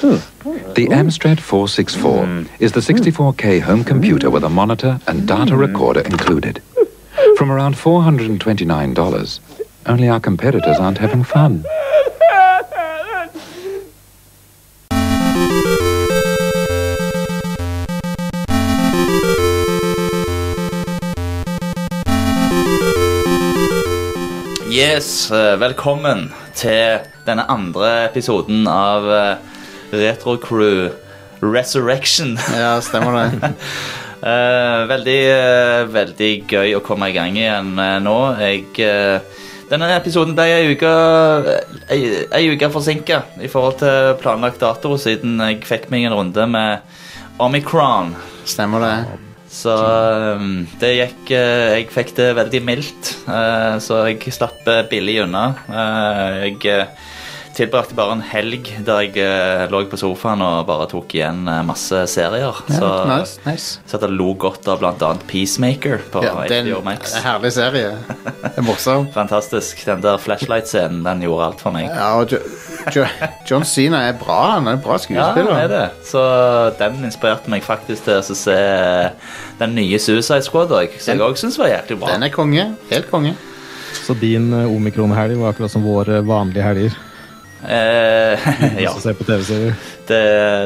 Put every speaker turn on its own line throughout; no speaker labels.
The Amstrad 464 is the 64K home computer with a monitor and data recorder included. From around $429, only our competitors aren't having fun.
Yes, eh, velkommen til denne andre episoden av eh, Retro Crew Resurrection.
Ja, stemmer det.
Eh, veldig, eh, veldig gøy å komme i gang igjen eh, nå. Jeg, eh, denne episoden ble ei uke, eh, ei, ei uke forsinka i forhold til planlagt dato, siden jeg fikk meg en runde med omikron.
Stemmer det.
Så um, det gikk eh, Jeg fikk det veldig mildt, eh, så jeg slapp eh, billig unna. Eh, jeg eh, tilbrakte bare en helg der jeg eh, lå på sofaen og bare tok igjen eh, masse serier. så
Ja, nice, nice.
så at jeg lo godt av bl.a. Peacemaker på
Ja, det er
HBO
en
Max.
herlig serie. Det er morsom.
Fantastisk. Den der flashlight-scenen den gjorde alt for meg.
Ja, og jo, jo, John Cena er bra. Han er en bra skuespiller.
Ja, han er det. Så den inspirerte meg faktisk til å se eh, den nye Suicide Squad òg, som
Den-
jeg òg syns var jæklig bra.
Den er konge. Helt konge.
Så din eh, omikron-helg var akkurat som våre vanlige helger.
Eh, ja.
Å se på TV-serier.
det,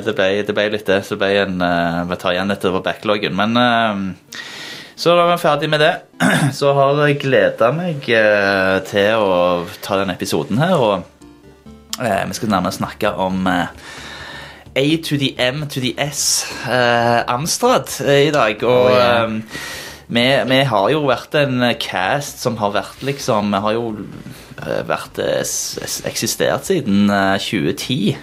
det, ble, det ble litt det. Så det ble en eh, Vi tar igjen dette over backloggen. Men eh, så da var vi ferdig med det. Så har jeg gleda meg eh, til å ta denne episoden her, og eh, vi skal nærmere snakke om eh, A to the M to the S eh, Amstrad eh, i dag. Og
Å, ja.
eh, vi, vi har jo vært en eh, cast som har vært liksom Vi har jo eh, vært, eh, s- s- eksistert siden eh, 2010.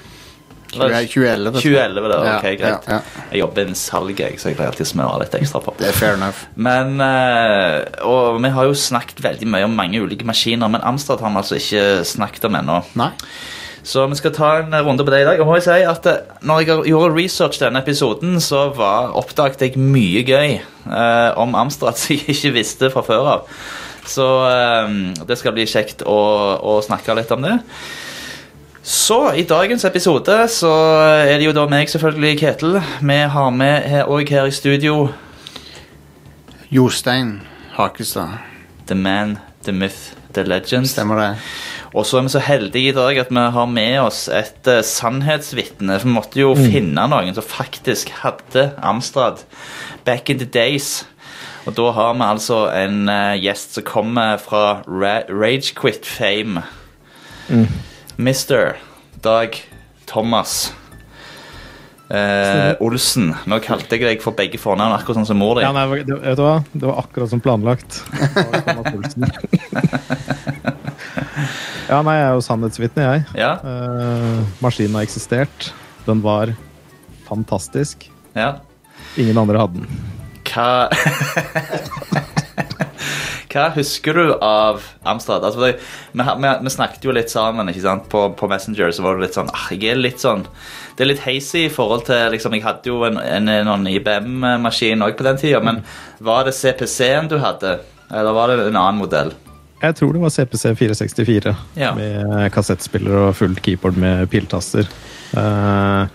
2011. det tror jeg.
2011, Altså, da.
Ja,
Ok, greit.
ja, ja.
Jeg jobber innen salg, jeg, så jeg pleier alltid å smøre litt ekstra på.
Det er fair enough.
Men, eh, og vi har jo snakket veldig mye om mange ulike maskiner, men Amstrad har vi altså ikke snakket om ennå.
Nei.
Så vi skal ta en runde på det i dag. Og må jeg si at eh, når jeg gjorde research til denne episoden, så var, oppdaget jeg mye gøy eh, om Amstrad som jeg ikke visste fra før av. Så eh, det skal bli kjekt å, å snakke litt om det. Så i dagens episode så er det jo da meg, selvfølgelig, Ketil. Vi har med her- og her i studio
Jostein Hakestad.
The Man, The Myth, The Legend.
Stemmer det.
Og så er vi så heldige i dag at vi har med oss et uh, sannhetsvitne. For vi måtte jo finne noen som faktisk hadde Amstrad back in the days. Og da har vi altså en eh, gjest som kommer fra Ra Ragequit fame. Mister Dag Thomas. Eh, Olsen. Nå kalte jeg deg for begge fornavn, akkurat sånn som mor di.
Ja, nei, det, vet du hva? Det var akkurat som planlagt. ja, nei, jeg er jo sannhetsvitne, jeg.
Ja,
Eh, maskinen har eksistert. Den var fantastisk.
ja.
Ingen andre hadde den.
Hva Hva husker du av Amstrad? Altså, det, vi, har- vi, vi snakket jo litt sammen ikke sant? På, på Messenger. så var det litt sånn, ah, jeg er litt sånn Det er litt hazy i forhold til liksom, Jeg hadde jo en, en, sånn en IBM-maskin òg på den tida, men var det CPC-en du hadde? Eller var det en annen modell?
Jeg tror det var CPC 464
Ja.
med kassettspiller og fullt keyboard med piltaster. Eh,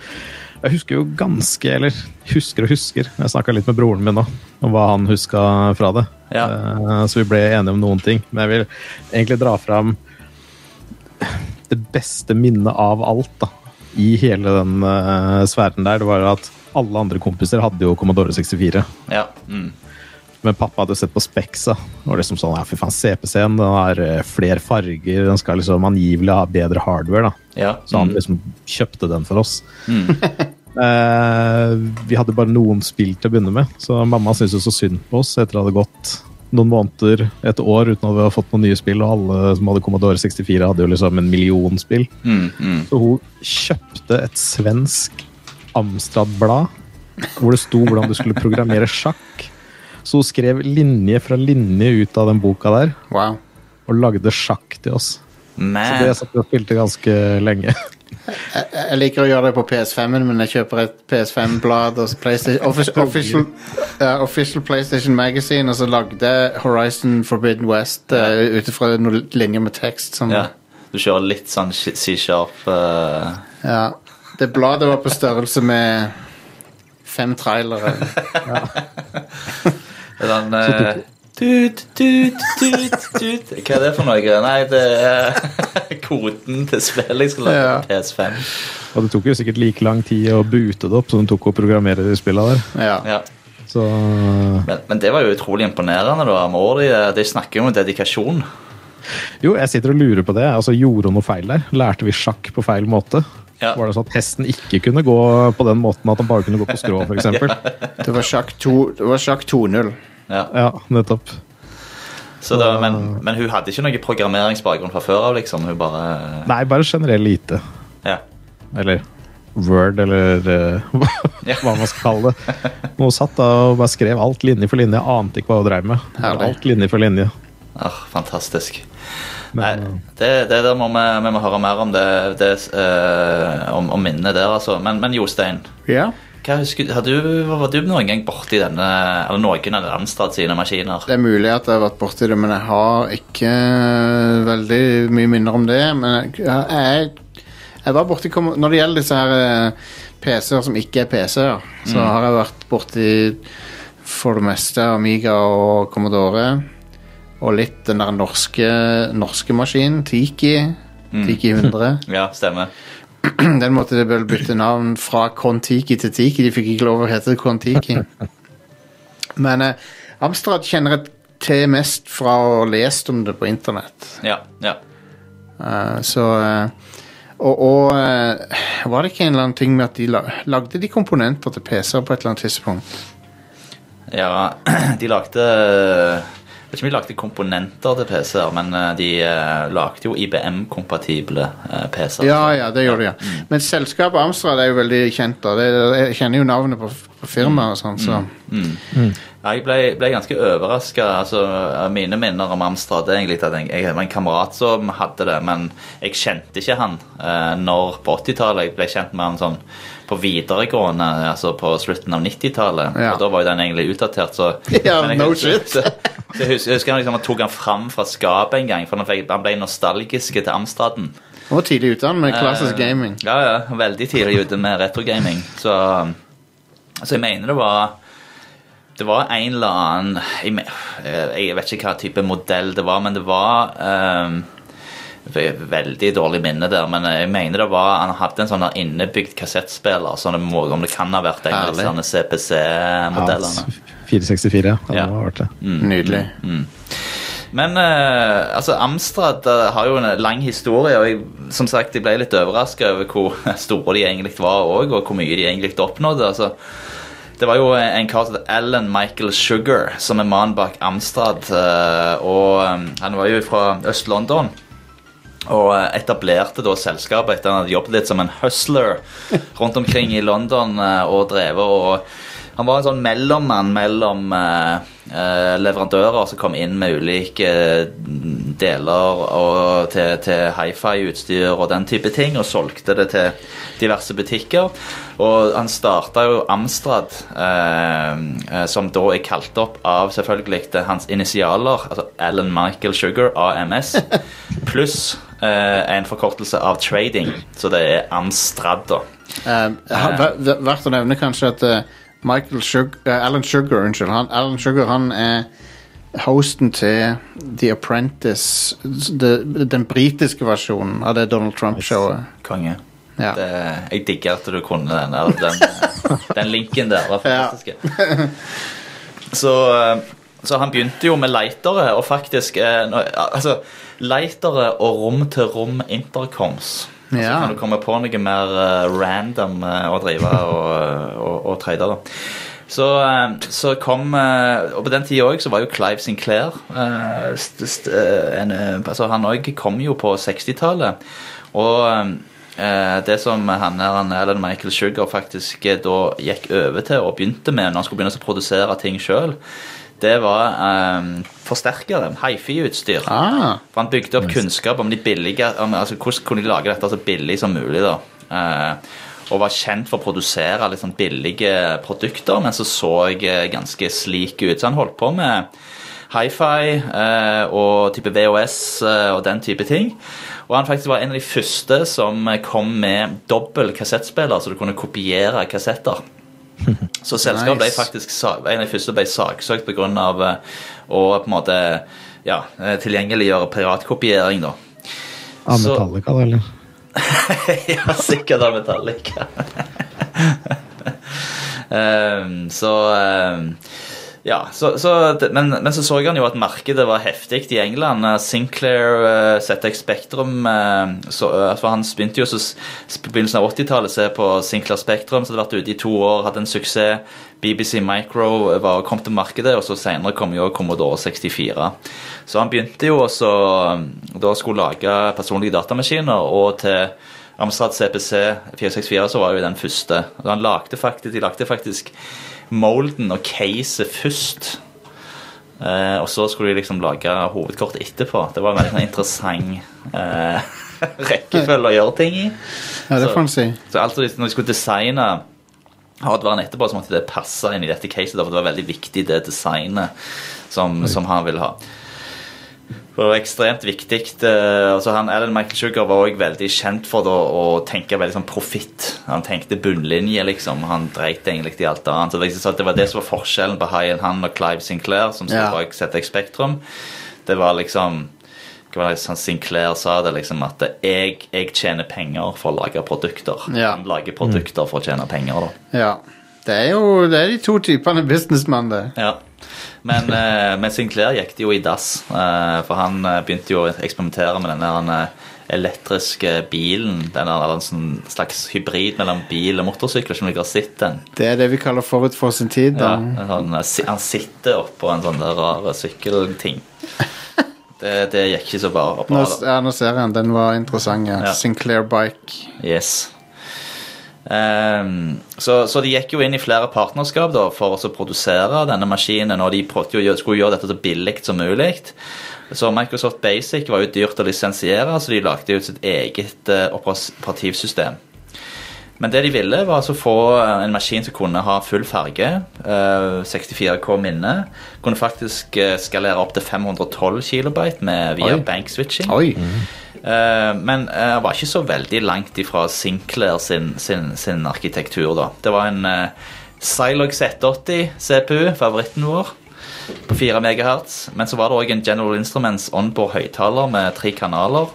jeg husker jo ganske, eller husker og husker Jeg snakka litt med broren min nå om hva han huska fra det.
Ja.
Eh, så vi ble enige om noen ting. Men jeg vil egentlig dra fram det beste minnet av alt da, i hele den eh, sfæren der. Det var jo at alle andre kompiser hadde jo Commodore 64.
Ja. Mm.
Men pappa hadde sett på Spexa. Og liksom sånn, ja, fy faen, CPC-en den har eh, flere farger, den skal liksom angivelig ha bedre hardware. da.
ja.
Så han
mm.
liksom kjøpte den for oss. Eh, vi hadde bare noen spill til å begynne med, så mamma syntes jo så synd på oss etter at det hadde gått noen måneder, et år, uten at vi hadde fått noen nye spill. Og alle som hadde Commodore 64, hadde jo liksom en million spill.
Mm, mm.
Så hun kjøpte et svensk Amstrad-blad hvor det sto hvordan du skulle programmere sjakk. Så hun skrev linje fra linje ut av den boka der
Wow.
og lagde sjakk til oss. Så
Man.
det sånn- satt vi og spilte ganske lenge.
Jeg jeg liker å gjøre det på PS5-en, men jeg kjøper et PS5-blad og så PlayStation, offic- official, ja, official PlayStation Magazine, og så lagde jeg Horizon Forbidden West uh, ut ifra noen linjer med tekst. Som,
Ja.
ja.
Du kjører litt sånn C-sharp
Ja, Det bladet var på størrelse med fem trailere.
Det er Den, eh, tut, tut, tut, tut. Hva er det for noe? Nei, det er koden til spillet jeg skal lage
Ja.
på PS5.
Og det tok jo sikkert like lang tid å boote det opp som det tok å programmere de spillene der.
Ja.
Ja.
Så øh,
Men, men det var jo utrolig imponerende. da med året. De, de snakker jo om dedikasjon.
Jo, jeg sitter og lurer på det. Altså, Gjorde hun noe feil der? Lærte vi sjakk på feil måte?
Ja.
Var det sånn at hesten ikke kunne gå på den måten at han bare kunne gå på skrå, f.eks.? ja.
Det var sjakk to- det var sjakk 2-0.
Ja.
ja, nettopp.
Så da, men, men hun hadde ikke noe programmeringsbakgrunn fra før av, liksom. Hun bare
Nei, bare generell lite.
Ja.
Eller Word, eller eh,
Ja.
hva man skal kalle det. Men Hun satt da og bare skrev alt linje for linje. Ante ikke hva hun dreiv med.
Herlig.
Alt linje for linje.
Ah, fantastisk. Nei,
Men, øh,
det, det der må vi, vi må høre mer om det, det eh, om, om minnene der, altså. Men, men Jostein,
Ja.
hva husker, har du, var du noen gang borti denne Eller noen av Amstrad sine maskiner?
Det er mulig at jeg har vært borti det, men jeg har ikke eh, veldig mye minner om det. Men jeg, jeg, jeg var borti kom- Når det gjelder disse her eh, PC-er som ikke er PC-er, så har jeg vært borti for det meste Amiga og Commodore. Og litt den der norske, norske maskinen, Tiki. Tiki 100.
Ja, stemmer.
Den måtte de vel bytte navn fra Kon-Tiki til Tiki. De fikk ikke lov å hete Kon-Tiki. Men eh, Amstrad kjenner jeg til mest fra å ha lest om det på internett.
Ja, ja.
Eh, så eh, Og, og eh, var det ikke en eller annen ting med at de la lagde de komponenter til PC-er på et eller annet tidspunkt?
Ja, de lagde Jeg vet ikke om de lagde komponenter til PC-er, men eh, de eh, lagde jo IBM-kompatible eh, PC-er.
Ja, ja, det gjorde de, ja. Men selskapet Amstrad er jo veldig kjent. da. Det- Jeg kjenner jo navnet på, på firmaet og sånn, så
Ja, Jeg ble, ble ganske overraska. Altså, mine minner om Amstrad er egentlig at jeg, jeg var en kamerat som hadde det, men jeg kjente ikke han eh, når på 80-tallet. Jeg ble kjent med han sånn på videregående, altså på slutten av 90-tallet.
Ja.
Og da var jo den egentlig utdatert, så
Ja,
men jeg
no
husker-
shit.
så jeg husker, jeg husker han liksom, han tok han fram fra skapet en gang, for han, fikk, han ble nostalgisk til Amstraden.
Han var tidlig ute han, med klassisk
Eh,
gaming.
Ja, ja. Veldig tidlig ute med retrogaming. Så, så jeg mener det var Det var en eller annen Jeg, me- eh, jeg vet ikke hva type modell det var, men det var ehm, ve- Veldig dårlig minne der, men jeg mener det var Han hadde en sånn der innebygd kassettspiller, så det må, om det kan ha vært en av
Herlig.
disse
ja,
CPC-modellene.
464, ja. Det
Ja. Mm.
må ha vært det.
Nydelig.
Men eh, altså Amstrad eh, har jo en lang historie, og jeg, som sagt, jeg ble litt overraska over hvor store de egentlig var òg, og hvor mye de egentlig oppnådde. altså. Det var jo en kar som het Alan Michael Sugar, som er mannen bak Amstrad. eh, Og eh, han var jo fra Øst-London. Og eh, etablerte da selskapet etter han hadde jobbet litt som en hustler rundt omkring i London eh, og drevet og Han var en sånn mellommann mellom eh, eh, leverandører som kom inn med ulike eh, deler og til, til hifi-utstyr og den type ting, og solgte det til diverse butikker. Og han starta jo Amstrad, eh, eh, som da er kalt opp av selvfølgelig det hans initialer, altså Alan Michael Sugar, AMS, pluss eh, en forkortelse av trading, så det er Amstrad, da. Um, uh,
Eh, ha- ver- ver- Verdt å nevne kanskje at eh, Michael Sugar, uh, Alan Sugar, unnskyld, han, Alan Sugar han er hosten til The Apprentice, s- det- den britiske versjonen av det Donald Trump-showet.
Konge.
Ja.
Det, jeg digger at du kunne den, der, den, den linken der. var fantastisk. Så, eh, så han begynte jo med lightere, og faktisk eh, nå- Altså, lightere og rom-til-rom-intercoms. Så
Ja.
altså, kan du komme på noe mer eh, random eh, å drive og, eh, og, og trade, da. Så, eh, så kom eh, Og på den tida òg så var jo Clive Sinclair eh, st, st, eh, en, eh, altså Han òg kom jo på 60-tallet. Og eh, det som han her, han Alan Michael Sugar faktisk eh, da gikk over til og begynte med når han skulle begynne å produsere ting sjøl, det var eh, forsterkere. Hifi-utstyr.
Ah,
For han bygde opp kunnskap om de billige om, altså, Hvordan kunne de lage dette så billig som mulig da eh, Og var kjent for å produsere litt sånn billige produkter Men så så jeg eh, ganske slik ut Så han holdt på med Hi-Fi eh, og type VHS eh, og den type ting. Og han faktisk var en av de første som eh, kom med dobbel kassettspiller, så du kunne kopiere kassetter. Så selskapet ble
Nice.
faktisk sa- en av de første ble saksøkt pga. eh, å på en måte ja, eh, tilgjengeliggjøre piratkopiering, da.
Av
Så-
Metallica, da, eller?
ja, sikkert av Metallica. Ehm, så ehm, Ja, så, så det- men, men så så han jo at markedet var heftig i England. Eh, Sinclair eh, ZX Spectrum eh, så, eh, For han begynte jo så s- s- på begynnelsen av 80-tallet se på Sinclair Spectrum, som hadde vært ute i to år, hadde en suksess. BBC Micro eh, var, kom til markedet, og så senere kom jo Commodore 64. Så han begynte jo også eh, Da skulle lage personlige datamaskiner, og til Amstrad CPC 464 så var jo den første. Og han lagde faktisk, de lagde faktisk molden og caset først. Eh, og så skulle de liksom lage hovedkortet etterpå. Det var en veldig sånn interessant eh, rekkefølge å gjøre ting i.
Ja, det
Så-
får en si.
Så alt det- når de skulle designe hardwaren etterpå, så måtte det passe inn i dette caset. da, For det var veldig viktig, det designet som, som han ville ha. Det var ekstremt viktig. eh, Altså han, Alan Michael Sugar var også veldig kjent for da, å tenke veldig sånn profitt. Han tenkte bunnlinje, liksom. Han dreit egentlig i alt annet. Så det, er liksom sånn at det var det som var forskjellen på High and Han og Clive Sinclair, som
Ja.
stod bak ZX Spektrum. Det var liksom hva var det sånn Sinclair sa det liksom at jeg, jeg tjener penger for å lage produkter.
Ja.
Han lager produkter for å tjene penger, da.
Ja. Det er jo det er de to typene businessmann, det.
Ja. Men, eh, men Sinclair gikk det jo i dass, eh, for han eh, begynte jo å eksperimentere med denne her, eh, elektriske bilen. Den her, eller en sånn slags hybrid mellom bil og motorsykkel, som dere har sett den.
Det er det vi kaller forut for sin tid, da.
Ja, en sånn, eh, si- han sitter oppå en sånn der rar sykkelting. Det, det gikk ikke så bare
Nå,
bra.
s-
da.
ja, nå ser jeg den. Den var interessant. Ja.
Ja.
Sinclair Bike.
Yes. Ehm, så, så de gikk jo inn i flere partnerskap da, for å produsere denne maskinen, og de prøvde jo, å gjøre- skulle gjøre dette så billig som mulig. Så Microsoft Basic var jo dyrt å lisensiere, så de lagde jo sitt eget eh, operas- operativsystem. Men det de ville, var altså å få eh, en maskin som kunne ha full farge, eh, 64K minne, kunne faktisk eh, skalere opp til 512 kilobyte med, via
Oi.
bankswitching.
Oi!
Eh, men eh, var ikke så veldig langt ifra Sinclair sin, sin, sin arkitektur, da. Det var en eh, Zilog Z80 CPU, favoritten vår, på 4 MHz. Men så var det òg en General Instruments onboard høyttaler med tre kanaler.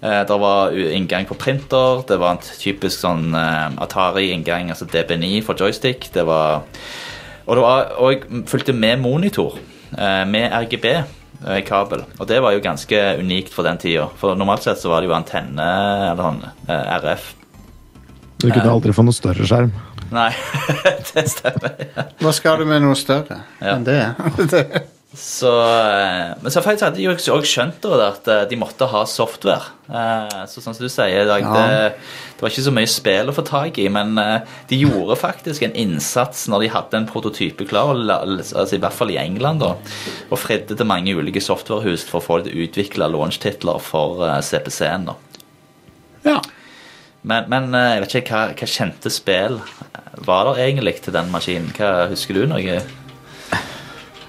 Eh, det var u- inngang på printer, det var en typisk sånn eh, Atari-inngang, altså DB9 for joystick. Det var og, det var, og jeg fulgte med monitor, eh, med RGB-kabel. eh, Og det var jo ganske unikt for den tida. For normalt sett så var det jo antenne eller sånn eh, RF.
Du kunne aldri få noe større skjerm.
Nei, det stemmer.
Hva skal du med noe større
Ja.
enn det? det?
Så, eh, men så faktisk hadde de jo også også skjønt da, det at eh, de måtte ha software. Eh, Så sånn som du sier, Dag,
Ja.
det, det var ikke så mye spill å få tak i, men eh, de gjorde faktisk en innsats når de hadde en prototype klar, og la- altså, i hvert fall i England, da, og fridde til mange ulike softwarehus for å få dem til å utvikle launchetitler for eh, CPC-en. da.
Ja.
Men, men eh, jeg vet ikke hva, hva kjente spill eh, var der egentlig til den maskinen? Hva, husker du noe?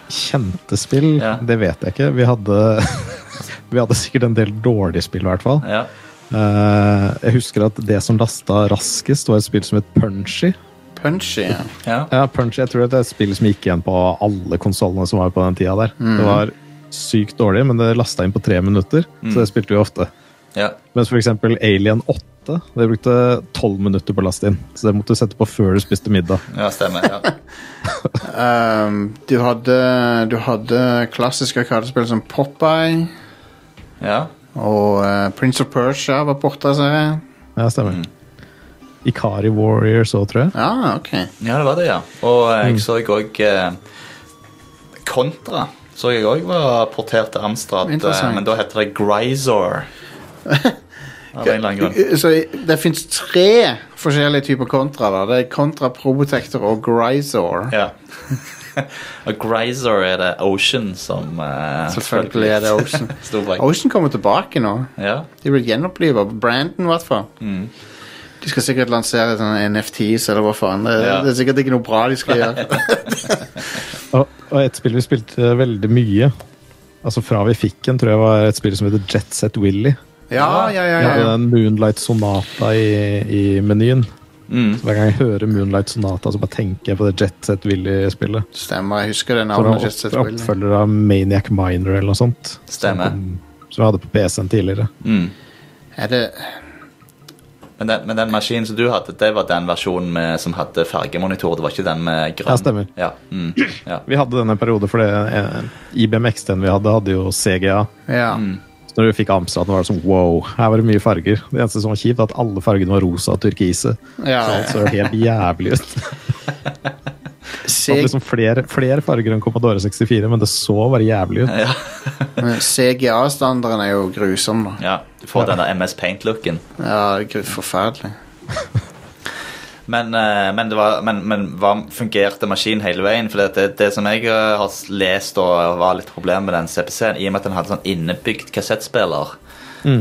Kjente spill,
Ja.
det vet jeg ikke. Vi hadde, vi hadde sikkert en del dårlige spill, i hvert fall.
Ja.
Eh, jeg husker at det som lasta raskest, var et spill som het Punchy.
Punchy. Ja.
ja.
Ja, Punchy, Jeg tror det er et spill som gikk igjen på alle konsollene som var på den tida der.
Mhm.
Det var sykt dårlig, men det lasta inn på tre minutter,
Mhm.
så det spilte vi ofte.
ja.
Mens for eksempel Alien 8 det brukte tolv minutter på å laste inn. Så det måtte du sette på før du spiste middag.
Ja, stemmer. Ja.
Ehm, du, hadde, du hadde klassiske arkadespill som Popeye
ja.
og eh, Prince of Persia var borte, ser jeg.
Ja, stemmer.
Mhm.
Ikari Warriors òg, tror jeg.
Ja, ok.
Ja, det var det, ja. Og eh,
Mm.
jeg så òg eh, Kontra. Så jeg òg var portert til Amstrad, eh,
Interessant.
men da heter det Grisor. Av en eller annen grunn.
Eh, Så det fins tre forskjellige typer kontra. da. Det er Kontra, Probotector og Grisor.
Ja. Og Grisor er det Ocean som eh,
Selvfølgelig er det Ocean.
sto bak.
Ocean kommer tilbake nå.
Ja.
De blir gjenoppliva. Brandon, i hvert fall.
Mm.
De skal sikkert lansere sånne NFTs eller hva faen. Det,
Ja.
det er sikkert ikke noe bra de skal gjøre.
Og Og et spill vi spilte veldig mye, altså fra vi fikk en, tror jeg var et spill som heter Jet Set Willy.
Ja, ja, ja.
Vi
ja,
hadde
ja.
den Moonlight Sonata i, i menyen.
Mm.
Så hver gang jeg hører Moonlight Sonata, så bare tenker jeg på det Jet Set Willy-spillet.
Stemmer, jeg husker det
Som
navnet.
var
Jet Set
opp,
Willy.
oppfølger av Maniac Miner eller noe sånt.
Stemmer.
Som, som vi hadde på PC-en tidligere.
Mm.
Er det
Men, den, men den maskinen som du hadde, det var den versjonen med, som hadde fargemonitor? Det var ikke den med grønn?
Ja, stemmer.
Ja, mm, ja.
Vi hadde denne periode, for det eh, IBM XT-en vi hadde, hadde jo CGA.
Ja.
Mm.
Så når du fikk Amstrad, var det sånn wow, her var det mye farger. Det eneste som var kjipt, var at alle fargene var rosa og turkise.
ja.
Så alt så helt jævlig ut. Det var
Seg-
liksom flere, flere farger enn Commodore 64, men det så bare jævlig ut.
ja.
men CGA-standarden er jo grusom, da.
ja. Du får den der MS Paint-looken.
Ja, det er gru- forferdelig.
Men, eh, men, det var, men, men hva fungerte maskinen hele veien? For det, det, det som jeg eh, har lest og var litt problem med den CPC-en, i og med at den hadde sånn innebygd kassettspiller,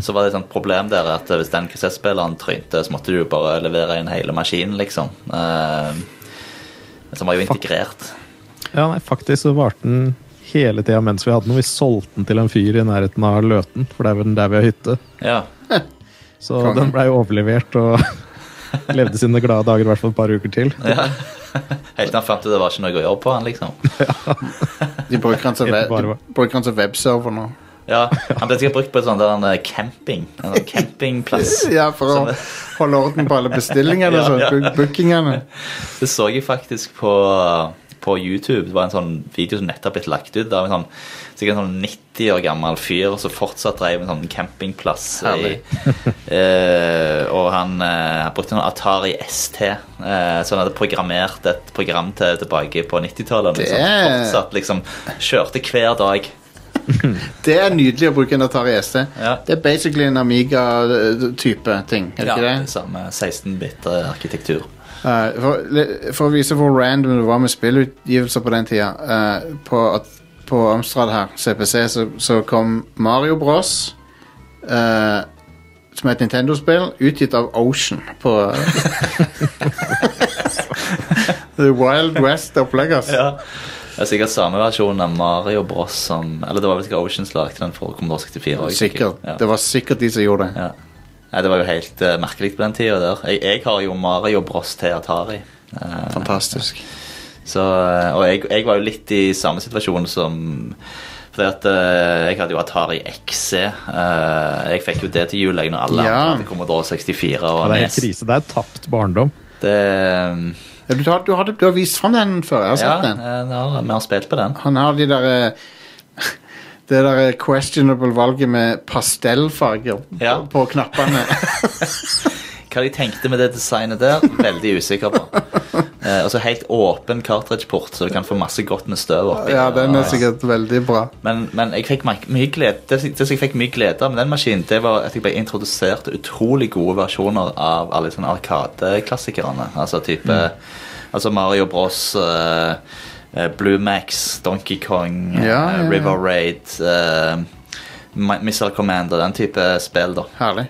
så var det et sånt problem der at eh, hvis den kassettspilleren trynte, så måtte du jo bare levere inn hele maskinen, liksom. Eh, som var jo integrert.
Ja, nei, faktisk så varte den hele tida mens vi hadde den. Vi solgte den til en fyr i nærheten av Løten, for det er vel der vi har hytte.
Ja.
Så den blei overlevert og levde sine glade dager i hvert fall et par uker til.
Helt til han fant ut det var ikke noe å gjøre på han, liksom.
De bruker den til,
Helt
web,
bare
de
bra.
bruker den til webserver nå.
Ja, Han ble sikkert brukt på en sånn der en eh, camping. En sånn campingplass.
Ja, for å holde orden på alle bestillingene
Ja,
og sånn.
ja.
bu- Bookingene.
Det så jeg faktisk på, på YouTube. Det var en sånn video som nettopp blitt lagt ut. av en sånn, sikkert en sånn 90 år gammel fyr som fortsatt drev en sånn campingplass. I, eh, og han, eh, han brukte en Atari ST, eh, så han hadde programmert et program til tilbake på 90-tallet.
Det
Liksom,
er-
fortsatt liksom kjørte hver dag.
Det er nydelig å bruke en Atari ST.
Ja.
Det er basically en Amiga-type ting, er det
Ja,
ikke det?
det samme 16-bit eh, arkitektur.
Eh, for, li- for å vise hvor random det var med spillutgivelser på den tida eh, på, at- på Amstrad her, CPC, så, så kom Mario Bros. eh, som er et Nintendo-spill, utgitt av Ocean på The Wild West-opplegg, altså.
Ja. Det er sikkert samme versjon av Mario Bros som Eller det var vel sikkert Oceans lagde den for Commodore 64 også,
Sikkert.
Ja.
Det var sikkert de som gjorde det.
Ja. Nei, det var jo helt eh, merkelig på den tida der. Jeg, jeg har jo Mario Bros til Atari. Eh,
Fantastisk.
så, eh, og jeg, jeg var jo litt i samme situasjon som fordi at eh, Jeg hadde jo Atari XC. eh, jeg fikk jo det til jul jeg, når alle
Ja.
andre hadde Commodore 64 og
Ja, det
NES.
er helt krise. Det er tapt barndom.
Det, eh,
Ja, Du, har- du, har, du har vist fram den før. Jeg
ja,
har sett den.
eh, vi har- vi har spilt på den.
Han har de der eh, Det der eh, questionable valget med pastellfarger
Ja.
på, på knappene.
Hva de tenkte med det designet der, veldig usikker på. Eh, altså helt åpen cartridge-port, så du kan få masse godt med støv oppi.
ja, den er sikkert veldig bra.
Men, men jeg fikk my- mye glede, det, som- det som jeg fikk mye glede av med den maskinen, det var at jeg ble introdusert til utrolig gode versjoner av alle sånne arkadeklassikerne. Altså type
Mm.
altså Mario Bros. eh, eh, Blue Max, Donkey Kong, eh,
Ja, ja, ja.
River Raid, eh, Mi- Missile Commander, den type spill, da.
Herlig.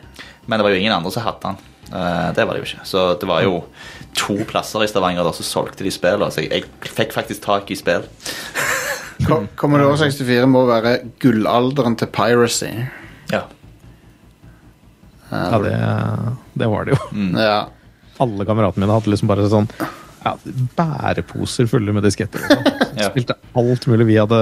Men det var jo ingen andre som hadde den. Eh, det var det jo ikke. Så det var jo to plasser i Stavanger der som solgte de spillene. Så jeg, jeg fikk faktisk tak i spill.
Ko- Commodore 64 må være gullalderen til piracy.
Ja.
Ja, det, det var det jo.
Ja.
alle kameratene mine hadde liksom bare sånn ja, bæreposer fulle med disketter. Liksom.
Ja.
Spilte alt mulig. Vi hadde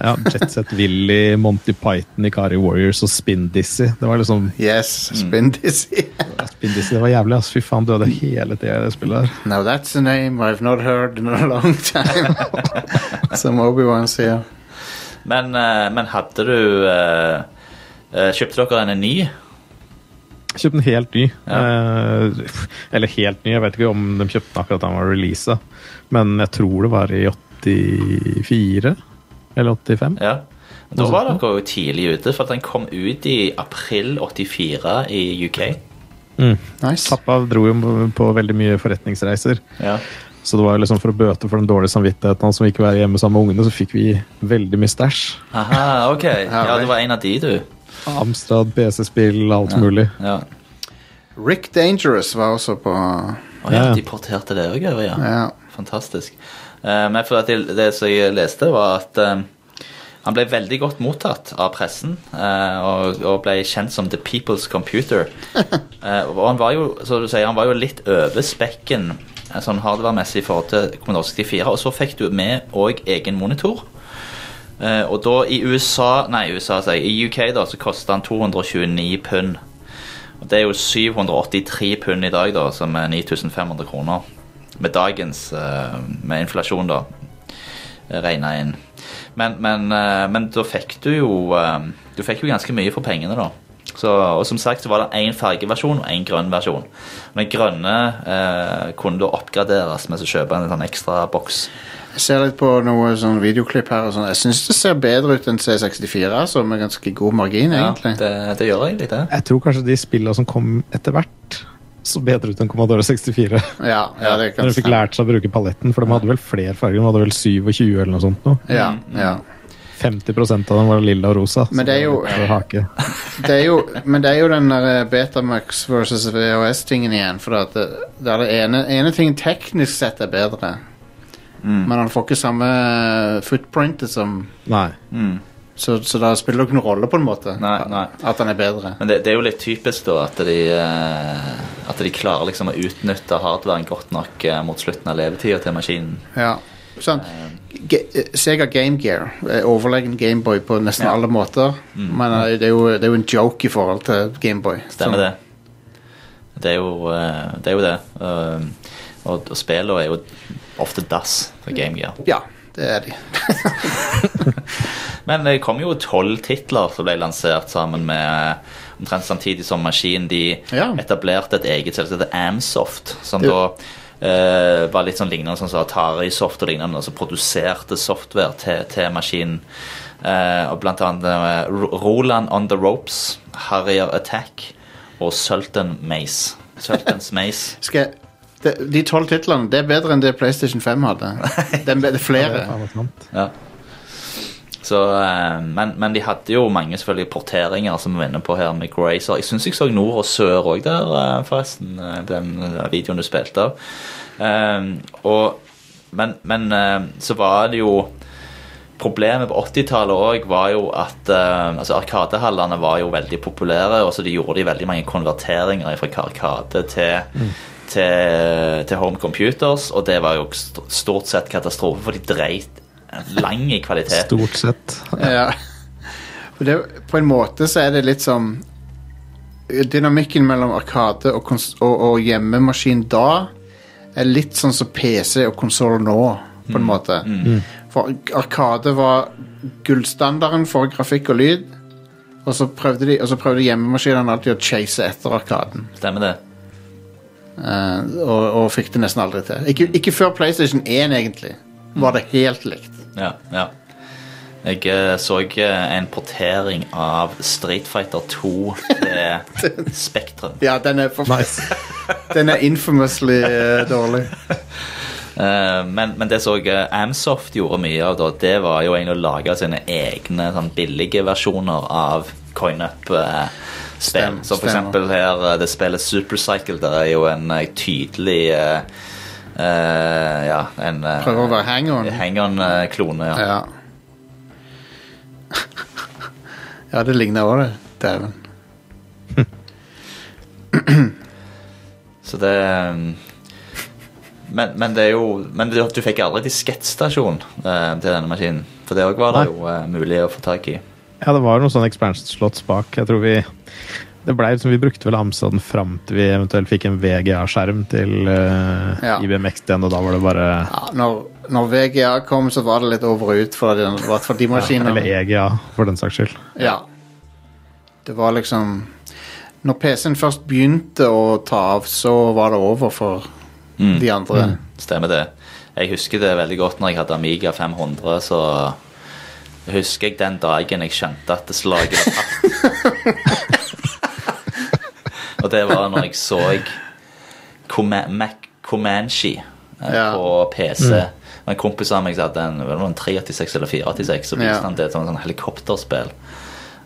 ja, Jet Set Willy, Monty Python, Ikari Warriors og Spin Dizzy. Det var liksom
Yes, spin dizzy.
Spin Dizzy, det var jævlig. ass. Fy faen, døde hele tida i det spillet her.
Now that's a name I've not heard in a long time. Som Obi-Wan sier.
Men, eh, men hadde du eh, eh, Kjøpte dere en ny?
Kjøpte en helt ny. Eh, eller helt ny, jeg vet ikke om de kjøpte den akkurat da den var releasa. Men jeg tror det var i 84 eller 85.
Ja. Da var dere jo tidlig ute, for at den kom ut i april 84 i UK.
Nice.
Mm. Pappa dro jo på veldig mye forretningsreiser.
Ja.
Så det var jo liksom for å bøte for den dårlige samvittigheten hans som ikke være hjemme sammen med ungene, så fikk vi veldig mye stæsj.
Aha, ok. Ja, det var en av de, du.
Ah.
Amstrad, PC-spill, alt mulig.
Ja.
Rick Dangerous var også på
Å ja,
Ja.
de porterte det òg over, ja.
Ja.
Fantastisk. Eh, men for at det, det som jeg leste, var at eh, han ble veldig godt mottatt av pressen. eh, og, og ble kjent som The People's Computer. Eh, og han var jo som du sier, han var jo litt over spekken eh, sånn hardware-messig i forhold til Commodore 64. Og så fikk du med òg egen monitor. Eh, og da i USA Nei, USA, sier jeg. I UK da, så kosta han 229 pund. Og det er jo 783 pund i dag, da, som er 9500 kroner. Med dagens eh, Med inflasjon, da. Regna inn. Men, men, eh, men da fikk du jo eh, Du fikk jo ganske mye for pengene, da. Så, og som sagt så var det én fargeversjon og én grønn versjon. Og Den grønne eh, kunne da oppgraderes med å kjøpe en sånn ekstra boks.
Jeg ser litt på noe sånn videoklipp her. Og sånn. jeg syns det ser bedre ut enn C64, altså, med ganske god margin,
Ja,
egentlig.
det, det gjør egentlig det.
Jeg tror kanskje de spillene som kom etter hvert, så bedre ut enn Commodore 64.
Ja, ja, det
Når
kan
de fikk lært seg å bruke paletten, for de hadde vel flere farger. De hadde vel 27 eller noe sånt. Nå.
Ja, ja.
50 av dem var lilla og rosa. så
Men det er jo-
var litt av hake.
Det er jo, men det er jo den der eh, Betamax versus VHS-tingen igjen. For at det, det er det ene, ene ting teknisk sett er bedre, men han får ikke samme footprintet som
Nei.
Så, så da spiller det ikke noen rolle, på en måte,
Nei, nei.
at han er bedre.
Men det, det er jo litt typisk da at de, eh, at de klarer liksom å utnytte hardwaren godt nok eh, mot slutten av levetida til maskinen.
Ja. Sånn. Ge eh, Sega Game Gear er overlegen Gameboy på nesten
Ja. Mm.
alle måter. Men eh, det er, jo, det er jo en joke i forhold til Gameboy.
Stemmer det? Det er jo eh, det. Er jo det. Eh, og, og spillene er jo ofte dass for Game Gear.
Ja, det er de.
Men det kom jo tolv titler som ble lansert sammen med eh, omtrent samtidig som Maskin. De
Ja.
etablerte et eget selskap, det Amsoft, som
Ja.
da eh, var litt sånn lignende som Atari Soft og lignende, som produserte software til, til maskinen. Eh, og blant annet eh, Ro- Roland on the Ropes, Harrier Attack og Sultan Mace. Sultans Mace.
Skal jeg de, de tolv titlene det er bedre enn det PlayStation 5 hadde. Det er be- flere.
Ja, det er sant.
Ja. Så, eh, men, men de hadde jo mange selvfølgelig porteringer som vi var inne på her med Grazer. Jeg syns jeg så nord og sør òg der, eh, forresten. eh, Den eh, videoen du spilte av. Eh, og, men men eh, så var det jo Problemet på 80-tallet òg var jo at eh, altså Arkadehallene var jo veldig populære, og så de gjorde de veldig mange konverteringer fra Arkade til, til, til Home Computers, og det var jo st- stort sett katastrofe, for de dreit lang i kvalitet.
Stort sett.
Ja. Og Det, på en måte så er det litt som Dynamikken mellom Arkade og, kons- og, og hjemmemaskin da er litt sånn som PC og konsoll nå, på en måte. For Arkade var gullstandarden for grafikk og lyd, og så prøvde, de, og så prøvde hjemmemaskinene alltid å chase etter Arkaden.
Stemmer det?
eh, og, og fikk det nesten aldri til. Ikke, ikke før PlayStation 1, egentlig, var det helt likt.
Ja, ja. Jeg eh, så eh, en portering av Street Fighter 2 til Spektrum.
Ja, den er, for,
Nice.
den er infamously eh, dårlig.
Eh, men, men det som eh, Amsoft gjorde mye av, da, det var jo egentlig å lage sine egne sånn, billige versjoner av coin-up-spill.
Stem-
Som for
stemmer.
eksempel her, eh, det spillet Supercycle, der er jo en eh, tydelig eh, eh, Ja, en eh,
Prøver å være sånn. hang-on.
hang-on-klone. ja.
Ja. ja, det ligner òg, det. Dæven.
Så det um, men, men det er jo Men du, du fikk aldri diskettstasjon eh, til denne maskinen. For det òg var det
Nei.
jo eh, mulig å få tak i.
Ja, det var noen sånne expansion-slots bak. Jeg tror vi det ble, liksom, Vi brukte vel Amstaden fram til vi eventuelt fikk en VGA-skjerm til eh,
Ja.
IBM XD-en, og da var det bare
Ja, når, når VGA kom, så var det litt over og ut for den, i hvert fall de
Eller E
maskinene.
EGA, for den saks skyld.
Ja. Det var liksom Når PC-en først begynte å ta av, så var det over for
Mm.
de andre.
Stemmer det. Jeg husker det veldig godt når jeg hadde Amiga 500, så husker jeg den dagen jeg skjønte at det slaget var tapt. Og det var når jeg så Coma- Mac Comanche eh,
Ja. Mm.
på PC. Og En kompis av meg som hadde en, det var en 386 eller 486, så viste
Ja.
han det som en sånn helikopterspill.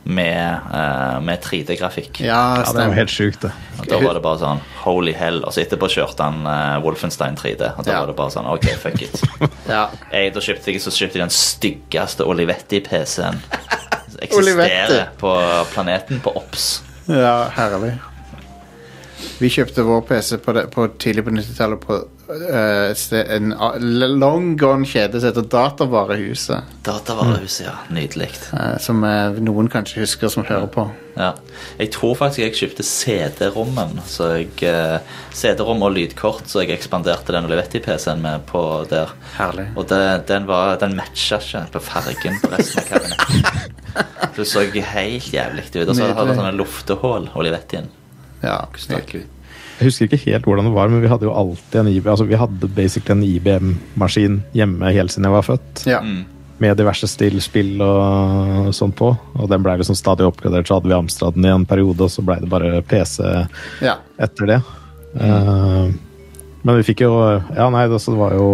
med, eh, med 3D-grafikk.
Ja,
Ja, det er jo
stemmer.
helt sjukt, det.
Og Da var det bare sånn holy hell. Og så etterpå kjørte han eh, Wolfenstein 3D. Og da
Ja.
var det bare sånn OK, fuck it.
Ja.
Jeg, da kjøpte jeg så kjøpte jeg den styggeste Olivetti-PC-en som
Olivetti.
eksisterer på planeten, på OBS.
ja, herlig. Vi kjøpte vår PC på det, på tidlig på 90-tallet på eh, et sted- en a- long gone kjede som heter Datavarehuset.
Datavarehuset, ja. Nydelig.
eh, som eh, noen kanskje husker som hører på.
Ja. Jeg tror faktisk jeg kjøpte CD-rommen så jeg, eh, CD-rom og lydkort, så jeg ekspanderte den Olivetti-PC-en med på der.
Herlig.
Og det, den, var, den matcha ikke på fargen på resten av kabinettet. Det så helt jævlig ut. Og så hadde
Nydelig.
det sånne luftehull, Olivettien.
Ja,
Stakkelig.
Jeg husker ikke helt hvordan det var, men vi hadde jo alltid en IBM, altså vi hadde basically en IBM-maskin hjemme helt siden jeg var født.
Ja.
Mm.
Med diverse stillspill og sånt på. Og den blei liksom stadig oppgradert, så hadde vi Amstraden i en periode, og så blei det bare PC
ja.
etter det. Eh, men vi fikk jo Ja, nei, det, altså, det var jo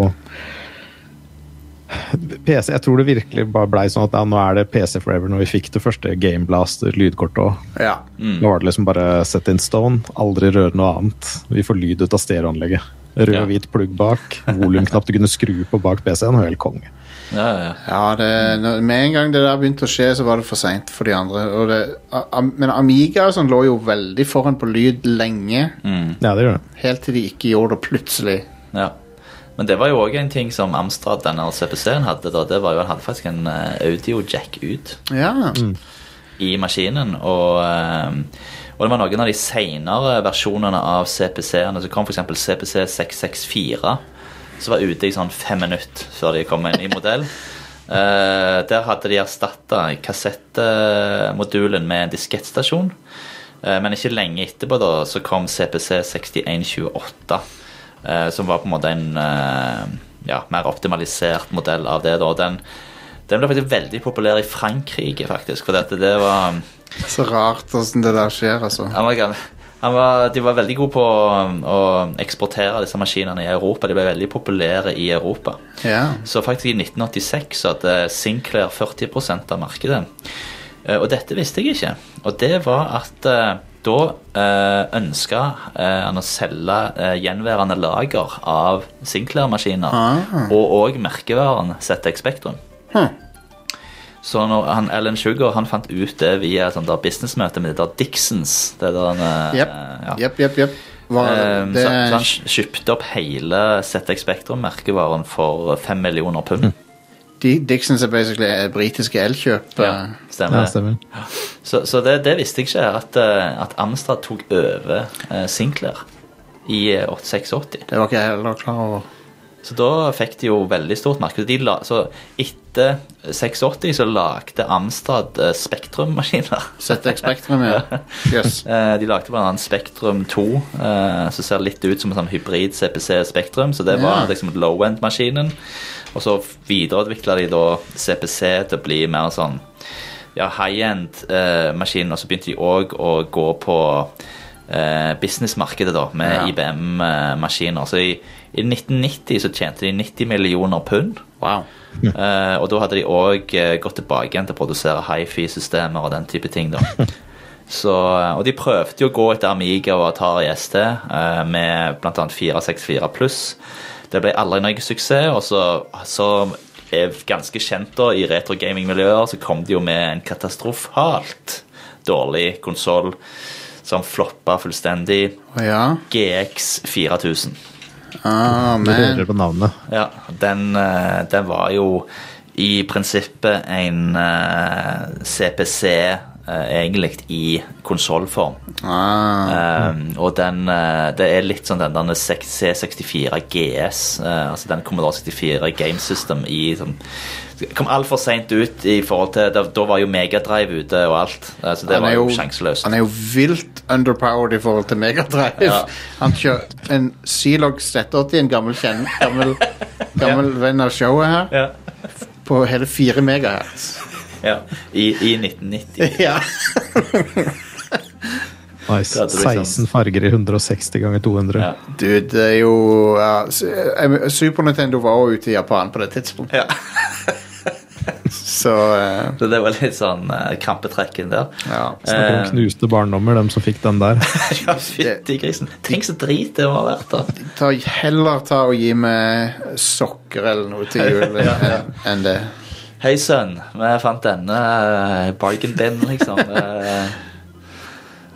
PC, Jeg tror det virkelig bare blei sånn at ja, nå er det PC forever når vi fikk det første Game Blast lydkortet òg.
ja.
Mm.
Nå var det liksom bare set in stone. Aldri røre noe annet. Vi får lyd ut av stereoanlegget. Rød
Ja.
og hvit plugg bak. Volumknapp du kunne skru på bak PC-en. Helt konge.
Ja, ja, ja.
Ja, det, når- med en gang det der begynte å skje, så var det for seint for de andre. Og det, a, am, men Amiga og sånn lå jo veldig foran på lyd lenge,
Mm.
Ja, det gjør det.
helt til de ikke gjorde det plutselig.
Ja. Men det var jo òg en ting som Amstrad, denne CPC-en, hadde. da, det var jo Han hadde faktisk en eh, audio-jack ut
Ja,
i maskinen. Og, eh, og det var noen av de seinere versjonene av CPC-ene som kom, f.eks. CPC 664, som var ute i sånn fem minutter før de kom med en ny modell. Eh, der hadde de erstatta kassettmodulen med en diskettstasjon. Eh, men ikke lenge etterpå da, så kom CPC 6128, eh, som var på en måte en eh, ja, mer optimalisert modell av det. da, og den den ble faktisk veldig populær i Frankrike, faktisk. For dette, det var, um,
så rart åssen det der skjer, altså.
han var, gan- han var, De var veldig gode på um, å, å eksportere disse maskinene i Europa. De ble veldig populære i Europa.
Ja.
Så faktisk i 1986 så hadde Sinclair 40 av markedet. Eh, Og dette visste jeg ikke. Og det var at eh, da eh, ønska eh, han å selge eh, gjenværende lager av Sinclair-maskiner. Og òg merkevaren ZX Spectrum.
Hm.
Så når han, Alan Sugar han fant ut det via et sånt der businessmøte med det der Dixons. Det der han, eh,
Jepp,
ja.
jepp, jepp. jepp. Var,
Eh,
det,
så, så han kjøpte opp hele ZX Spectrum-merkevaren for fem millioner pund.
de, Dixons er basically eh, britiske elkjøp. eh.
Stemmer
Ja,
det?
stemmer.
Så, så det, det visste jeg ikke, her, at, eh, at Amstrad tok over eh, Sinclair i eh, 86.
Det var ikke jeg heller klar over.
Så da fikk de jo veldig stort marked. De la, så etter 86 så lagde Amstrad eh, Spektrum-maskiner.
ZX Spectrum, ja. Jøss.
Eh, De lagde bl.a. Spektrum 2, eh, som ser litt ut som en sånn hybrid CPC Spektrum. Så det var
Ja.
liksom low-end-maskinen. Og så videreutvikla de da CPC til å bli mer sånn ja, high-end-maskin. og så begynte de òg å gå på eh, businessmarkedet, da, med
Ja.
IBM-maskiner. eh, Så i, i 1990 så tjente de 90 millioner pund.
Wow.
Eh, og da hadde de òg gått tilbake igjen til å produsere hifi-systemer og den type ting. da. Så, eh, og de prøvde jo å gå etter Amiga og Atari ST eh, med bl.a. 464 pluss. Det ble aldri noe suksess, og så, så er ganske kjent da i retrogaming-miljøer så kom de jo med en katastrofalt dårlig konsoll som floppa fullstendig.
Å ja.
GX 4000.
Ah,
Du
man.
hører på navnet.
Ja, den, eh, den var jo i prinsippet en eh, CPC eh, egentlig i konsollform.
Ah.
Eh, og den eh, Det er litt sånn den der C64 GS, eh, altså den Commodore 64 Game System i sånn det Kom altfor seint ut i forhold til Da, da var jo Megadrive ute og alt. eh, Så det
Han er
var jo
jo-
sjanseløst.
Han er jo vilt underpowered i forhold til Megadrive.
Ja.
Han kjører en Zilog Z80, en gammel, kjenn, gammel, gammel venn av showet her,
Ja.
på hele 4 megahertz.
Ja. I, I 1990.
Ja.
Nice.
Det hadde du ikke
16 farger i 160 ganger 200.
sånn- Ja.
Dude, det er jo ja, s- eh, Super Nintendo var også ute i Japan på det tidspunktet.
Ja.
Så eh,
Så det var litt sånn eh, krampetrekken der. Eh,
ja.
Snakker om knuste barndommer, dem som fikk den der.
Ja, fytti grisen. Tenk så drit det må ha vært, da.
Ta, heller ta og gi meg sokker eller noe til jul enn enn det.
Hei, sønn. Vi fant denne eh, bargain bin, liksom. Eh,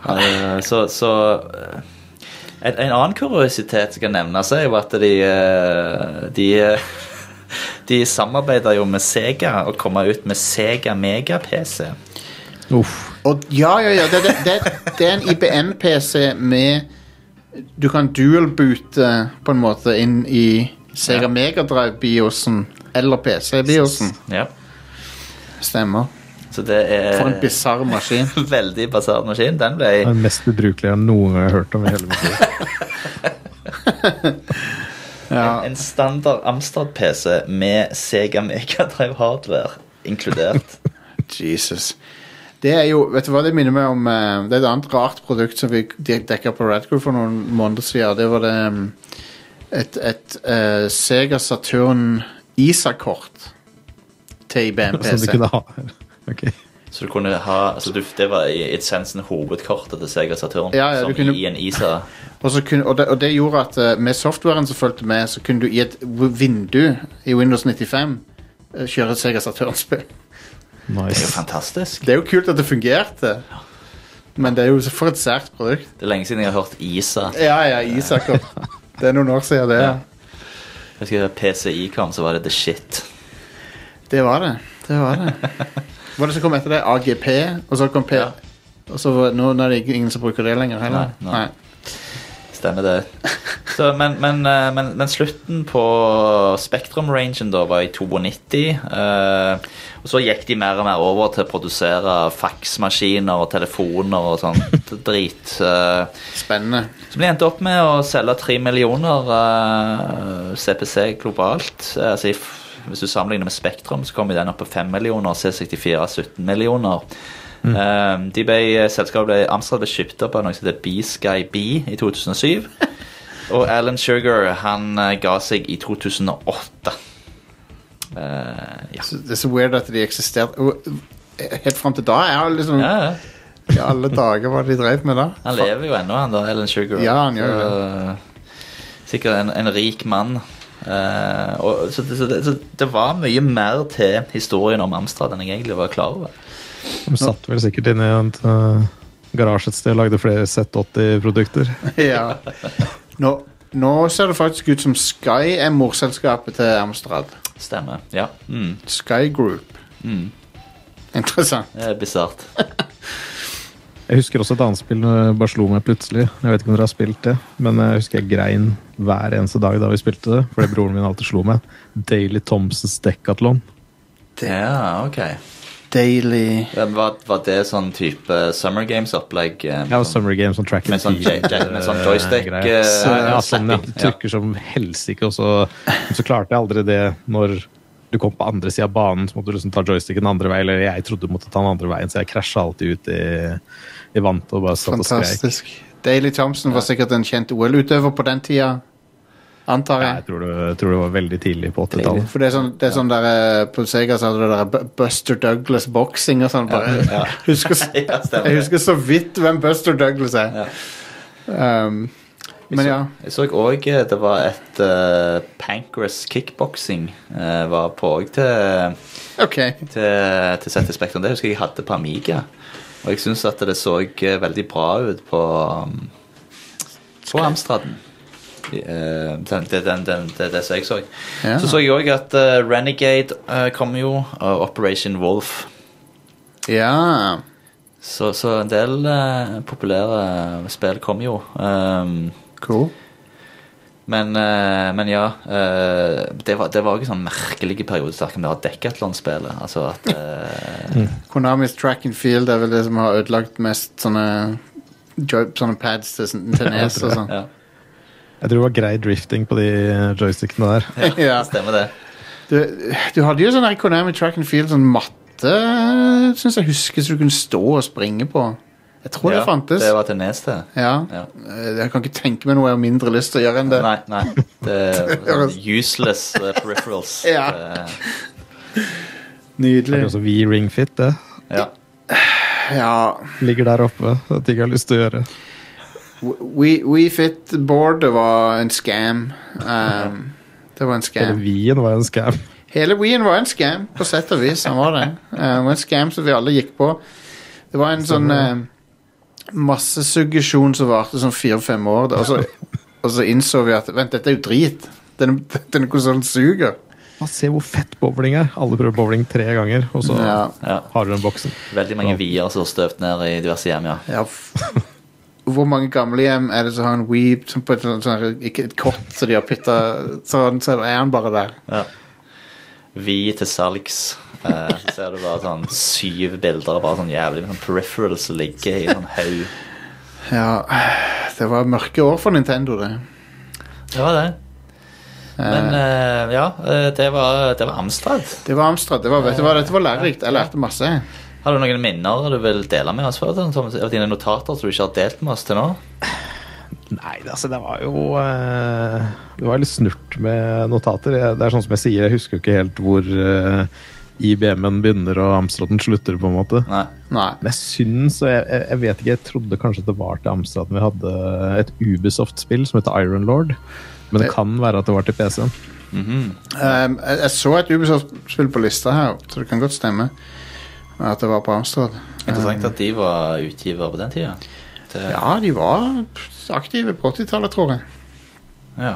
eh, Så, så eh, en, en annen kuriositet som kan nevnes, er jo at de eh, De, eh, de samarbeider jo med Sega og kommer ut med Sega Mega-PC.
Uff.
Og ja, ja, ja, det, det, det, det er en IBM-PC med Du kan dual-boote på en måte inn i
Ja.
Sega Mega Drive-biosen eller PC-biosen.
Ja.
Stemmer.
Så det er
For en bisarr maskin.
veldig basert maskin. Den ble
Den mest ubrukelige jeg noen gang har hørt om i hele mitt liv.
Ja.
En standard Amstrad-PC med Sega Mega Drive hardware inkludert.
Jesus. Det er jo, vet du hva det minner meg om eh, Det er et annet rart produkt som vi dek- dekka på Radcool for noen måneder siden. Det var det mm, et, et eh, Sega Saturn ISA-kort til IBM
Som du
PC.
kunne ha Ok.
Så du kunne ha så du, Det var i essensen hovedkortet til Sega Saturn.
Ja, ja, du
som
kunne-
i en ISA.
Og, så kunne, og, det, og det gjorde at eh, med softwaren som fulgte med, så kunne du i et w- vindu i Windows 95 eh, kjøre et Sega Saturn-spill.
Det er jo
Nice.
fantastisk.
Det er jo kult at det fungerte, men det er jo så- for et sært produkt.
Det er lenge siden jeg har hørt ISA.
Ja, ja, ISA-kort. Det er noen år siden det.
Ja. Jeg husker da PCI kom, så var det the shit.
Det var det. Det var det. Hva var det som kom etter det? AGP, og så kom P...
Ja.
Og så var, nå, nå er det ikke- ingen som bruker det lenger heller.
Nei, nei. Stemmer det. Så, men, men, eh, men, men slutten på Spektrum-rangen da var i 92. eh, og så gikk de mer og mer over til å produsere faksmaskiner og telefoner og sånt drit. eh,
Spennende.
Som de endte opp med å selge 3 millioner eh, CPC globalt. Eh, altså, i f- hvis du sammenligner med Spektrum, så kom jo den opp på 5 millioner, C64 17 millioner. Eh, de ble, selskapet ble Amstrad ble kjøpt opp av noe som heter B-Sky B i 2007. Og Alan Sugar han eh, ga seg i 2008. Eh, ja.
Så, det er så weird at de eksisterte. Og, eh, Helt fram til da? Jeg har liksom,
Ja, ja.
I alle dager, hva de drev med da?
Han lever jo ennå, han da, Alan Sugar.
Ja, han gjør jo
Så, Sikkert en, en rik mann. Eh, og, så, det- så, det- så det var mye mer til historien om Amstrad enn jeg egentlig var klar over.
De satt vel sikkert inne i en eh, garasje et sted og lagde flere Z80-produkter.
ja. Nå, nå ser det faktisk ut som Sky er morselskapet til Amstrad.
Stemmer. Ja. Mm,
Sky Group. Interessant.
det er bisart.
Jeg husker også et annet spill som bare slo meg plutselig. Jeg vet ikke om dere har spilt det, men jeg husker jeg grein hver eneste dag da vi spilte det. Fordi broren min alltid slo meg. Daily Thompsons Decathlon.
Ja, ok.
Daily
Ja, Eh, Var, var det sånn type Summer Games-opplegg? eh,
Ja, og Summer Games on Track
Med sånn
Field,
jack- jack- med sånn
eh,
joystick,
greier.
eh,
ja, sånn, ja. Du
slapping, ja.
trykker som helsike, og så, så klarte jeg aldri det når du kom på andre sida av banen, så måtte du liksom ta joysticken andre veien, eller jeg trodde du måtte ta den andre veien, så jeg krasja alltid ut i, i vannet og bare satt og skreik.
Fantastisk. Daily Thompson var sikkert en kjent OL-utøver på den tida, antar
Ja,
jeg.
Jeg tror det, jeg tror det var veldig tidlig på 80-tallet.
For det er sånn, det er sånn der eh, På Sega så hadde du der Bu- Buster Douglas boksing og sånn. Bare, husker, s-
Ja, stemmer.
jeg husker så vidt hvem Buster Douglas er. Um, men ja.
Jeg så òg det var et uh, Pancras kickboxing eh, var på òg til
Ok.
til, til ZT Spektrum. Det husker jeg jeg hadde på Amiga. Og jeg syns at det så eh, veldig bra ut på um, På Amstraden. I, eh, den, den, den, den, det er det som jeg så.
Ja.
Så så jeg òg at eh, Renegade eh, kom jo, og Operation Wolf.
Ja.
Så, så en del eh, populære spill kom jo. Um,
Cool.
men, eh, men ja eh, Det var det var òg en sånn merkelig periode sterk med det her Decathlon-spelet. Altså at eh,
Konamis track and field er vel det som har ødelagt mest sånne jo- Sånne pads til, til nes og sånn.
ja,
Jeg tror det var grei drifting på de eh, joystickene der.
Ja.
det stemmer det.
Du, du hadde jo sånn der Konami track and field, sånn matte Syns jeg husker, så du kunne stå og springe på. Jeg tror det fantes.
Det var til Nes, det.
Ja.
Ja.
Eh, Jeg kan ikke tenke meg noe jeg har mindre lyst til å gjøre enn det.
Nei, nei. Det er
høres-
useless eh, peripherals.
Ja.
Det-
Det er
Nydelig.
også vi i Ringfit, det.
Ja.
Ja,
Ligger der oppe. Det er ting jeg har lyst til å gjøre.
WeFit-boardet var en scam. Um, det var en
Hele
scam.
Wien var en scam.
Hele Wien var en scam, på sett og vis. Han var det. Uh, det var en scam som vi alle gikk på. Det var en sånn um, massesuggesjon som varte sånn fire-fem år. da, Og så, og så innså vi at vent, dette er jo drit. Denne, denne konsollen suger.
Bare se hvor fett bowling er. Alle prøver bowling tre ganger, og så
Ja.
ja.
har du den boksen.
Veldig mange vier som har støvt ned i diverse hjem, ja.
Ja, f Hvor mange gamlehjem er det som har en weeb som på et, sånt, sånn- ikke et kott så de har pytta sånn, så er han bare der.
ja. Vi til salgs. Eh, så ser du bare sånn syv bilder av bare sånn jævlig sånn peripherals som ligger i sånn haug.
Ja, det var mørke år for Nintendo, det.
Det var det. Men eh, ja, eh, det var, det var Amstrad.
Det var Amstrad. Det var, vet du hva, dette var lærerikt. Jeg lærte masse.
Har du noen minner du vil dele med oss før? Tom, Thomas? Av dine notater som du ikke har delt med oss til nå?
Nei, det- altså, det var jo eh, Det var litt snurt med notater. Jeg- Det er sånn som jeg sier, jeg husker jo ikke helt hvor eh, IBM-en begynner og Amstraden slutter, på en måte.
Nei.
Nei.
Men jeg syns, og jeg, jeg jeg vet ikke, jeg trodde kanskje det var til Amstraden vi hadde et Ubisoft-spill som heter Iron Lord. Men det kan være at det var til PC-en.
Mhm.
Um, jeg, jeg så et Ubisoft-spill på lista her, så det kan godt stemme at det var på Amstrad.
Interessant at de var utgiver på den tida. Det-
Ja, de var aktive på 80-tallet, tror jeg.
ja.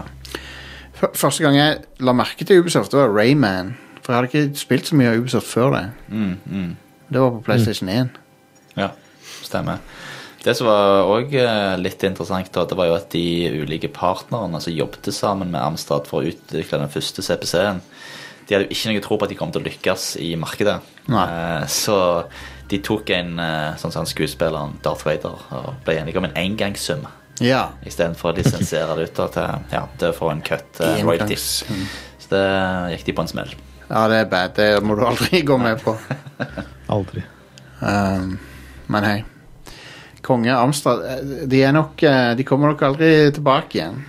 F- Første gang jeg la merke til Ubisoft, det var Rayman. For jeg hadde ikke spilt så mye av Ubisoft før det.
Mm, mm.
Det var på PlayStation 1.
Ja, stemmer. Det som var òg litt interessant, da, det var jo at de ulike partnerne som jobbet sammen med Amstrad for å utvikle den første CPC-en, de hadde jo ikke noe tro på at de kom til å lykkes i markedet.
Nei.
Eh, Så de tok en eh, sånn som han skuespilleren Darth Vader og ble enige om en engangssum
Ja.
istedenfor å lisensiere det ut da, til ja, til å få en cut eh, royalty.
Engangssum.
Så det gikk de på en smell.
ja, det er bad. Det må du aldri gå med på.
Aldri.
Um, men hei. Konge Amstrad eh, De er nok eh, De kommer nok aldri tilbake igjen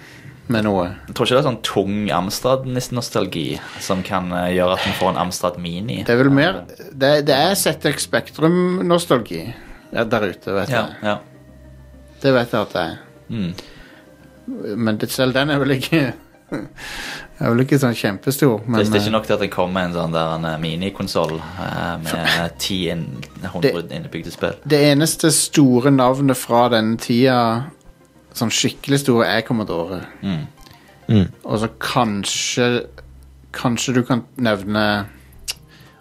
med noe.
Jeg tror ikke det er sånn tung Amstrad-nostalgi som kan eh, gjøre at vi får en Amstrad Mini.
Det er vel mer Det, det er ZX Spektrum-nostalgi ja, der ute, vet
Ja,
jeg.
ja.
Det vet jeg at det er.
Mm.
Men det, selv den er vel ikke Er vel ikke sånn kjempestor, men
Hvis det er
eh,
ikke nok til at det kommer en sånn der en eh, minikonsoll eh, med ti inn- 100 innebygde spill.
det eneste store navnet fra denne tida, sånn skikkelig store, er Commodore.
Mm.
Mm.
Og så kanskje Kanskje du kan nevne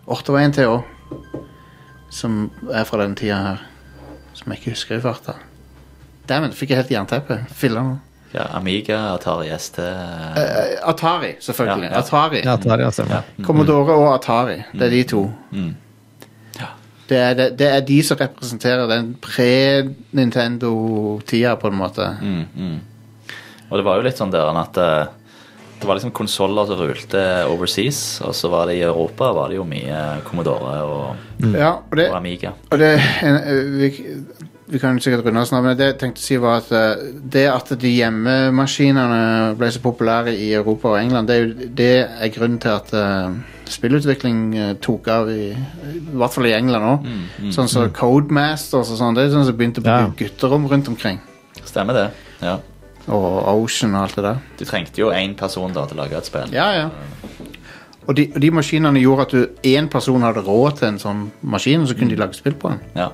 Åh, det var en til òg. Som er fra den tida her. Som jeg ikke husker i farta. Dæven, fikk jeg helt jernteppe. Filla nå.
Ja, Amiga, Atari ST eh,
Eh, Atari, selvfølgelig.
Ja, ja.
Atari.
Ja, det er, ja, stemmer.
Commodore og Atari. Det er de to.
Mm.
Det er, det, det er de som representerer den pre-Nintendo-tida, på en måte.
mm, mm. Og det var jo litt sånn der enn at eh, det var liksom konsoller som rulte overseas, og så var det i Europa var det jo mye Commodore og,
Ja, og det,
og Amiga.
Og det, en- eh, vi, vi kan jo sikkert runde oss nå, men det jeg tenkte å si var at eh, det at de hjemmemaskinene ble så populære i Europa og England, det er, jo, det er grunnen til at eh, spillutvikling eh, tok av i, i hvert fall i England òg. sånn som Codemasters og sånn, det er sånn som begynte å
Ja.
bygge gutterom rundt omkring.
Stemmer det. ja.
Og Ocean og alt det der.
Du trengte jo én person da til å lage et spill.
Ja, ja. Og de, og de maskinene gjorde at du- én person hadde råd til en sånn maskin, og så kunne de lage spill på den.
Ja.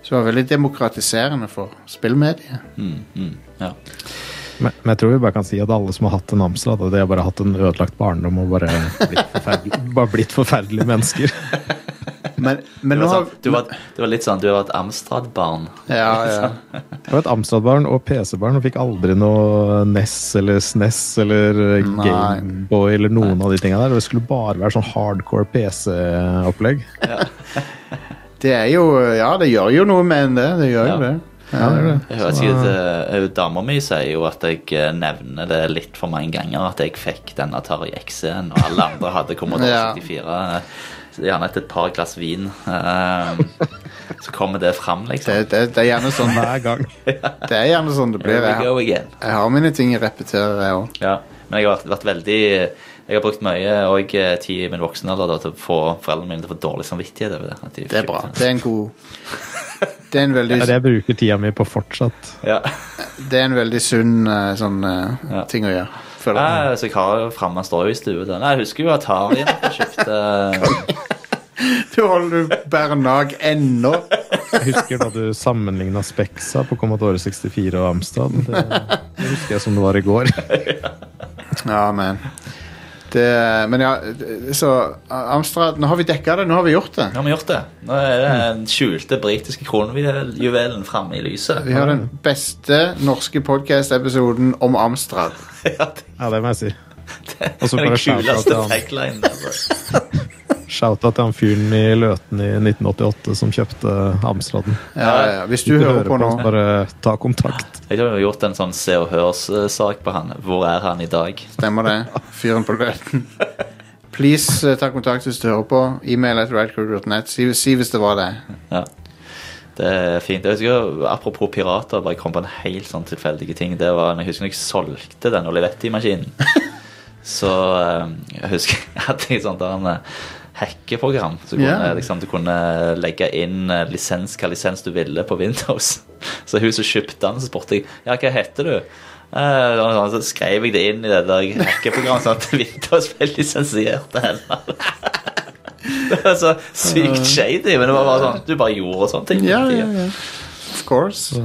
Så det var veldig demokratiserende for spillmediet.
Mm, mm, ja.
Men, men jeg tror vi bare kan si at alle som har hatt en Amstrad, de har bare hatt en ødelagt barndom og bare blitt, forferdelig, bare blitt forferdelige mennesker.
Men, men
Du,
nå
var
har
sånn, du, var, du var litt sånn Du var et Amstrad-barn.
Ja, ja.
Jeg var et Amstrad-barn og PC-barn og fikk aldri noe NES eller SNES eller Gameboy eller noen av de tinga der. Det skulle bare være sånn hardcore PC-opplegg.
Det er jo Ja, det gjør jo noe med en, det. Det
Ja.
gjør jo det.
Ja, det er det.
Jeg vet ikke, det, eh, Dama mi sier jo at jeg eh, nevner det litt for mange ganger at jeg fikk den Atari XC-en, og alle andre hadde Commodore
Ja.
64. eh, så Gjerne etter et par glass vin. eh, så kommer det fram,
Det,
liksom.
det, det, er gjerne sånn,
Hver gang.
det er gjerne sånn det
Here
blir.
we
Jeg,
go again.
jeg har mine ting jeg repeterer, jeg òg.
Ja. Men jeg har vært, vært veldig Jeg har brukt mye og eh, tid i min voksne alder da, til å få foreldrene mine til å få dårlig samvittighet over det. At de
Det er
kjøpte
bra.
den.
Det er en god Det er en veldig,
Det er det jeg bruker tida mi på fortsatt.
Ja.
det er en veldig sunn eh, sånn eh,
Ja.
ting å gjøre. Føler jeg.
Nei, Ah, så jeg har jo framme står jo i stuen. Nei, jeg husker jo at Harien kjøpte
Du holder du bærer nag ennå.
Jeg husker da du sammenligna Spexa på Commodore 64 og Amstrad. Det, det husker jeg som det var i går.
Ja, men det, Men ja, det- så Amstrad Nå har vi dekka det. Nå har vi gjort det.
Nå har vi gjort det. Nå er det den skjulte britiske kronjuvelen framme i lyset.
Vi har den beste norske podcast-episoden om Amstrad.
Ja, det
Ja, det må jeg si. Og så
er den
bare shouta
kuleste
til han,
taglinen. altså.
shoutout til han fyren i Løten i 1988 som kjøpte Amstraden.
Ja, ja, ja. Hvis du
Hvis
hører på nå
bare ta kontakt.
Jeg tror vi har gjort en sånn Se og Hørs-sak på han. Hvor er han i dag?
Stemmer det. Fyren på løten. Please eh, ta kontakt hvis du hører på. E-mail at radcrew.net. Si, si hvis det var det.
Ja. Det er fint. Jeg husker, apropos pirater, bare kom på en helt sånn tilfeldige ting. Det var, Jeg husker når jeg solgte den Olivetti-maskinen. Så eh, jeg husker jeg hadde et sånt der en eh, hackeprogram. Så kunne,
Ja.
liksom, du kunne legge inn eh, lisens, hva lisens du ville på Windows. Så hun som kjøpte den, så spurte jeg ja, hva heter du? Eh, og sånn, så skrev jeg det inn i det der hackeprogrammet, sånn at Windows ble lisensiert til henne. Det var så sykt shady, men det var bare sånn du bare gjorde sånne ting.
Ja, ja, ja. Of course.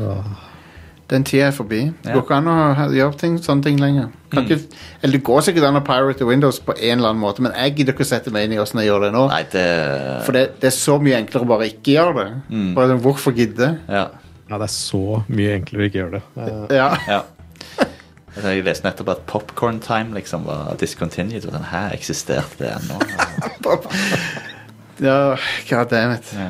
Den tida er forbi. Det
Ja.
går ikke an å ha- gjøre ting, sånne ting lenger. Kan ikke, eller det går sikkert an å pirate Windows på en eller annen måte, men jeg gidder ikke å sette meg inn i åssen jeg gjør det nå.
Nei, det
For det, det er så mye enklere å bare ikke gjøre det. Bare sånn, Hvorfor gidde?
Ja.
Ja, det er så mye enklere å ikke gjøre det.
Ja.
ja. Altså, Jeg leste nettopp at Popcorn Time liksom var discontinued, og den her eksisterte det ennå.
ja God damn it.
Ja.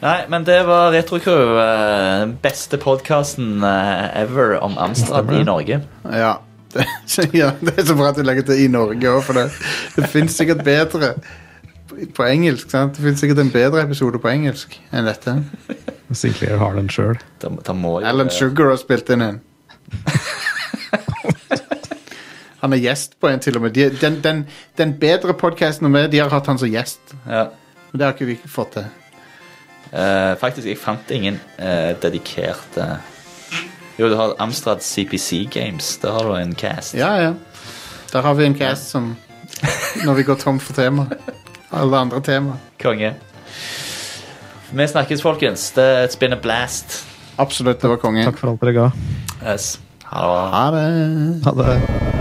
Nei, men det var Retrocrew. eh, Den beste podkasten ever om Amstrad i Norge.
Ja. Det, ja, det er så bra at du legger til i Norge òg, for det, det fins sikkert bedre på engelsk. sant? Det fins sikkert en bedre episode på engelsk enn dette.
Sinclair har den sjøl.
Da, da må jo
Alan Sugar har spilt inn en. Han er gjest på en, til og med. De, den, den, den bedre podkasten om de har hatt han som gjest.
ja.
Men det har ikke vi fått til.
Eh, faktisk, jeg fant ingen eh, dedikerte Jo, du har Amstrad CPC Games. Der har du en cast.
Ja, ja. Der har vi en cast som Når vi går tom for tema. Alle andre tema.
Konge. Vi snakkes, folkens. Det- It's been a blast.
Absolutt, det var konge.
Takk for alt dere ga.
Yes. Ha det.
Ha det.
Ha det.